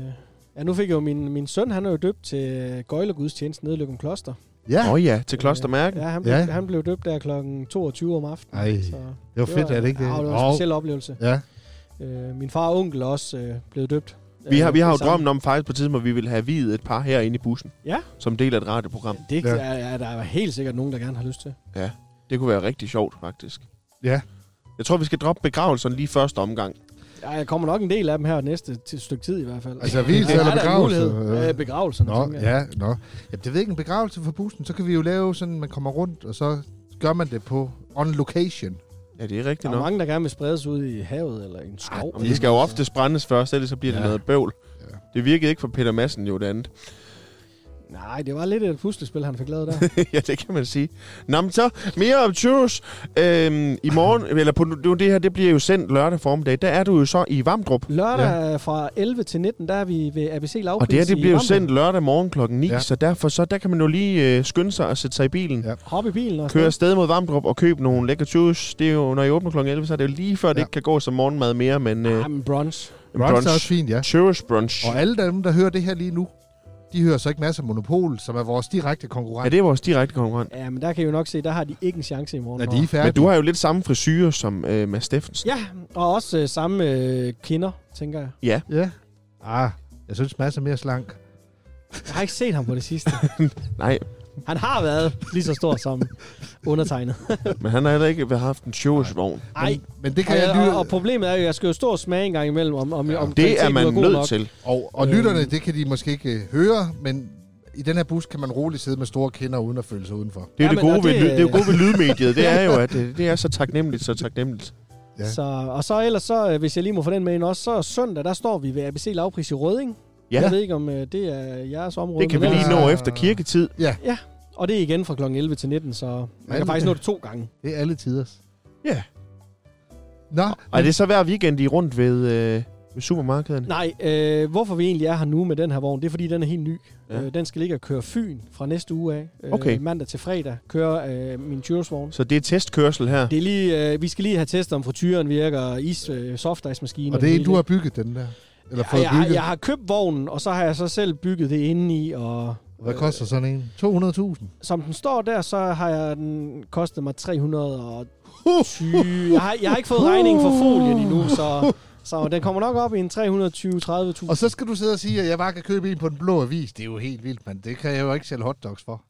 S3: Ja, nu fik jeg jo min, min søn, han er jo døbt til Gøjlegudstjenesten nede i Løgum Kloster.
S2: Ja.
S1: Åh oh, ja, til Klostermærken.
S3: Ja,
S1: Ja.
S3: han blev, ja.
S2: Ja.
S3: han blev døbt der kl. 22 om aftenen.
S2: Ej,
S3: Så
S2: det var fedt, er det ikke det?
S3: Ja, det var en
S2: Åh.
S3: speciel oplevelse.
S2: Ja.
S3: Øh, min far og onkel er også øh, blevet døbt.
S1: Vi har, vi har jo
S3: sammen.
S1: drømmen om faktisk på et tidspunkt, at vi vil have videt et par herinde i bussen.
S3: Ja.
S1: Som del af et radioprogram.
S3: Det
S2: Ja.
S3: ja. er, er der er helt sikkert nogen, der gerne har lyst til.
S1: Det kunne være rigtig sjovt, faktisk.
S2: Ja.
S1: Jeg tror, vi skal droppe begravelsen lige første omgang.
S3: Ja, jeg kommer nok en del af dem her næste t- stykke tid i hvert fald.
S2: Altså, hvilelse
S3: Ja,
S2: eller
S3: der er en
S2: begravelse?
S3: mulighed.
S2: Øh.
S3: Øh, begravelserne,
S2: Nå,
S3: tænker jeg.
S2: ja, nå. Jamen, det ved jeg ikke, en begravelse for bussen, så kan vi jo lave sådan, man kommer rundt, og så gør man det på on location.
S1: Ja, det er
S3: Der
S1: rigtigt
S3: er
S1: nok.
S3: mange, der gerne vil spredes ud i havet eller i en skov.
S1: Og de skal jo ofte brændes først, ellers så bliver ja.
S2: Ja.
S1: det noget bøvl.
S2: Ja.
S1: Ja. Det virkede ikke for Peter Madsen jo det andet.
S3: Nej, det var lidt et puslespil, han fik lavet der.
S1: ja, det kan man sige. Nå, men så mere om Churros. Øhm, I morgen, eller på, det, det her, det bliver jo sendt lørdag formiddag. Der er du jo så i Vamdrup.
S3: Lørdag ja. fra 11 til 19, der er vi ved ABC Lavpris
S1: Og det her, det
S3: i
S1: bliver jo
S3: Vamdrup.
S1: sendt lørdag morgen klokken 9,
S2: Ja.
S1: ja. så derfor så, der kan man jo lige øh, skynde sig og sætte sig i bilen.
S2: Ja.
S1: Ja.
S3: Hop i bilen og
S1: Køre
S3: sådan
S1: afsted mod Vamdrup og købe nogle lækre juice. Det er jo, når I åbner klokken 11, så er det jo lige før, ja. det
S2: Ja.
S1: ikke kan gå som morgenmad mere, men
S3: noget.
S1: øh,
S3: Ah, men brunch.
S1: en
S2: Brunch er også
S1: brunch.
S2: fint, ja.
S1: Churros brunch.
S2: Og alle dem, der hører det her lige nu, de hører så ikke masser af Monopol, som er vores direkte
S1: Ja,
S2: konkurrent.
S1: det er vores direkte konkurrent.
S3: Ja, men der kan I jo nok se, der har de ikke en chance i morgen.
S2: Er de er
S1: Men
S2: færdige?
S1: du har jo lidt samme frisyrer som øh, Mads Steffensen.
S3: Ja, og også øh, samme øh, kinder, tænker jeg.
S2: Ja. Ah, jeg synes, masser mere slank.
S3: Jeg har ikke set ham på det sidste.
S1: Nej,
S3: Han har været lige så stor som undertegnet.
S1: men han har heller ikke haft en churros-vogn.
S3: Ej,
S2: Men det kan
S3: og,
S2: jeg
S3: jeg,
S2: lytte...
S3: og, og problemet er jo, at jeg skal jo stå og smage en gang imellem, om, om, om
S1: Det er
S3: kvaliteten
S1: man
S3: god
S1: nødt
S3: nok.
S1: til.
S2: Og, og
S3: Øhm.
S2: lytterne, det kan de måske ikke øh, høre, men i den her bus kan man roligt sidde med store kinder uden at føle sig udenfor.
S1: Det er jo
S3: Jamen,
S1: det gode,
S3: og
S1: ved,
S3: det-
S1: lyd- det er jo gode ved lydmediet, det er jo, at øh, det, det er så taknemmeligt, så taknemmeligt.
S2: Ja.
S3: Så, og så ellers, så, øh, hvis jeg lige må få den med ind også, så søndag, der står vi ved ABC Lavpris i Røding.
S1: Ja.
S3: Jeg ved ikke, om øh, det er jeres område.
S1: Det kan vi
S3: men
S1: lige
S3: ellers-
S1: nå efter kirketid.
S3: Og det er igen fra kl. 11 til 19, så man
S2: Alle-
S3: kan faktisk nå det to gange.
S2: Det er alle tiders.
S1: Ja.
S2: Nå,
S1: Og er det så hver weekend, I er rundt ved, øh, ved supermarkederne?
S3: Nej, øh, hvorfor vi egentlig er her nu med den her vogn, det er fordi, den er helt ny.
S1: Ja.
S3: Ja. Øh, den skal ligge og køre Fyn fra næste uge af. Øh,
S1: Okay.
S3: Mandag til fredag kører øh, min Tyros-vogn.
S1: Så det er testkørsel her?
S3: Det er lige, øh, vi skal lige have testet, om frityren virker, og is, øh, softice-maskinen.
S2: og det er en,
S3: hele.
S2: du har bygget den der? Eller
S3: ja,
S2: fået
S3: jeg, har,
S2: bygget?
S3: jeg har købt vognen, og så har jeg så selv bygget det indeni, og...
S2: Hvad koster sådan en? 200.000?
S3: Som den står der, så har jeg den kostet mig 320. Jeg har, jeg har ikke fået regningen for folien endnu, så, så den kommer nok op i en 320-30.000.
S2: Og så skal du sidde og sige, at jeg bare kan købe en på den blå avis. Det er jo helt vildt, mand. Det kan jeg jo ikke sælge hotdogs for.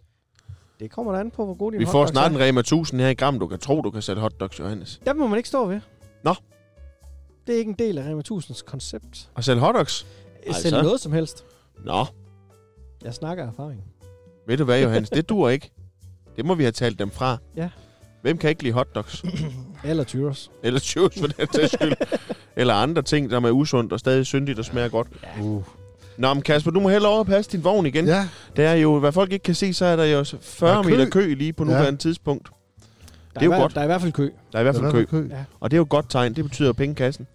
S3: Det kommer da an på, hvor god din
S1: Vi får
S3: hotdogs
S1: snart
S3: er.
S1: en Rema 1000 her i Gram, du kan tro, du kan sætte hotdogs, Johannes.
S3: Der må man ikke stå ved.
S1: Nå.
S3: Det er ikke en del af Rema 1000's koncept.
S1: Og sælge hotdogs?
S3: Altså.
S1: så.
S3: Selv noget som helst.
S1: Nå,
S3: Jeg snakker af erfaring.
S1: ved du hvad, Johannes, det dur ikke. Det må vi have talt dem fra.
S3: Ja.
S1: Hvem kan ikke lide hotdogs?
S3: Eller tyros.
S1: Eller juice, for den tages skyld. Eller andre ting, der er usundt og stadig syndigt og smager godt.
S2: Uh.
S1: Nå, men Kasper, du må hellere over at passe din vogn igen.
S2: Ja,
S1: Det er jo, hvad folk ikke kan se, så er der jo så 40
S2: Der er kø.
S1: meter kø lige på
S2: Ja.
S1: nuværende tidspunkt.
S3: Der
S1: er jo
S3: hver-
S1: godt.
S3: Der er i hvert fald kø.
S1: Der er i hvert fald kø.
S2: kø.
S3: Ja.
S1: Og det er jo et godt tegn. Det betyder pengekassen.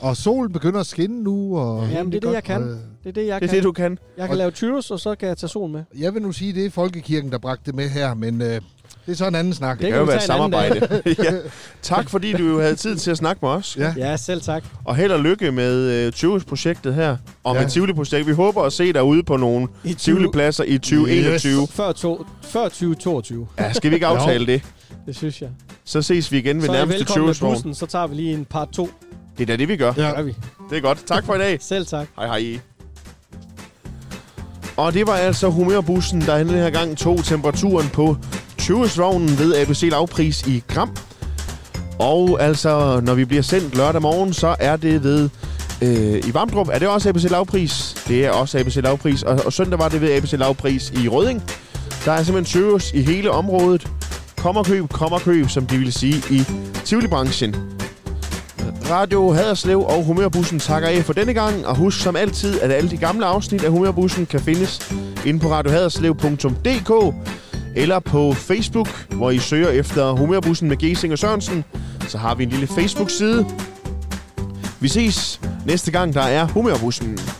S2: Og solen begynder at skinne nu. Og
S3: Jamen, det er det,
S2: godt,
S3: jeg kan.
S2: øh,
S3: Det er det, jeg
S1: Det er
S3: kan.
S1: det, du kan.
S3: Jeg kan
S2: Og-
S3: lave tyros, og så kan jeg tage sol med.
S2: Jeg vil nu sige, at det er Folkekirken, der bragte det med her, men øh, det er så en anden snak.
S1: Det,
S3: Det
S1: det kan
S3: kan
S1: jo
S3: vi
S1: være
S3: tage en anden
S1: samarbejde. ja. Tak, fordi du jo havde tid til at snakke med os.
S2: Ja.
S3: Ja, selv tak.
S1: Og held og lykke med øh, Tivoli-projektet her. Og
S2: Ja.
S1: med Tivoli-projektet. Vi håber at se dig ude på nogle
S3: I
S1: Tivoli-pladser i 2021. Yes.
S3: Før, to, før 2022,
S1: Ja, skal vi ikke aftale det?
S3: det synes jeg.
S1: Så ses vi igen ved
S3: Så er I
S1: nærmeste
S3: velkommen med
S1: Tivoli-vogn.
S3: bussen, så tager vi lige en par to.
S1: Det er da det, vi gør.
S3: Ja. Gør vi.
S1: Det er godt. Tak for i dag.
S3: Selv tak.
S1: Hej hej. Og det var altså humørbussen, der denne her gang tog temperaturen på 20-vognen ved ABC Lavpris i Kram. Og altså, når vi bliver sendt lørdag morgen, så er det ved øh, i Vamdrup. Er det også ABC Lavpris? Det er også ABC Lavpris. Og, og søndag var det ved ABC Lavpris i Rødding. Der er simpelthen tøvs i hele området. Kom og køb, kom og køb, som de ville sige i Tivoli-branchen. Radio Haderslev og Humørbussen takker af for denne gang, og husk som altid, at alle de gamle afsnit af Humørbussen kan findes inde på radiohaderslev.dk eller på Facebook, hvor I søger efter Humørbussen med Gesing og Sørensen. Så har vi en lille Facebook-side. Vi ses næste gang, der er Humørbussen.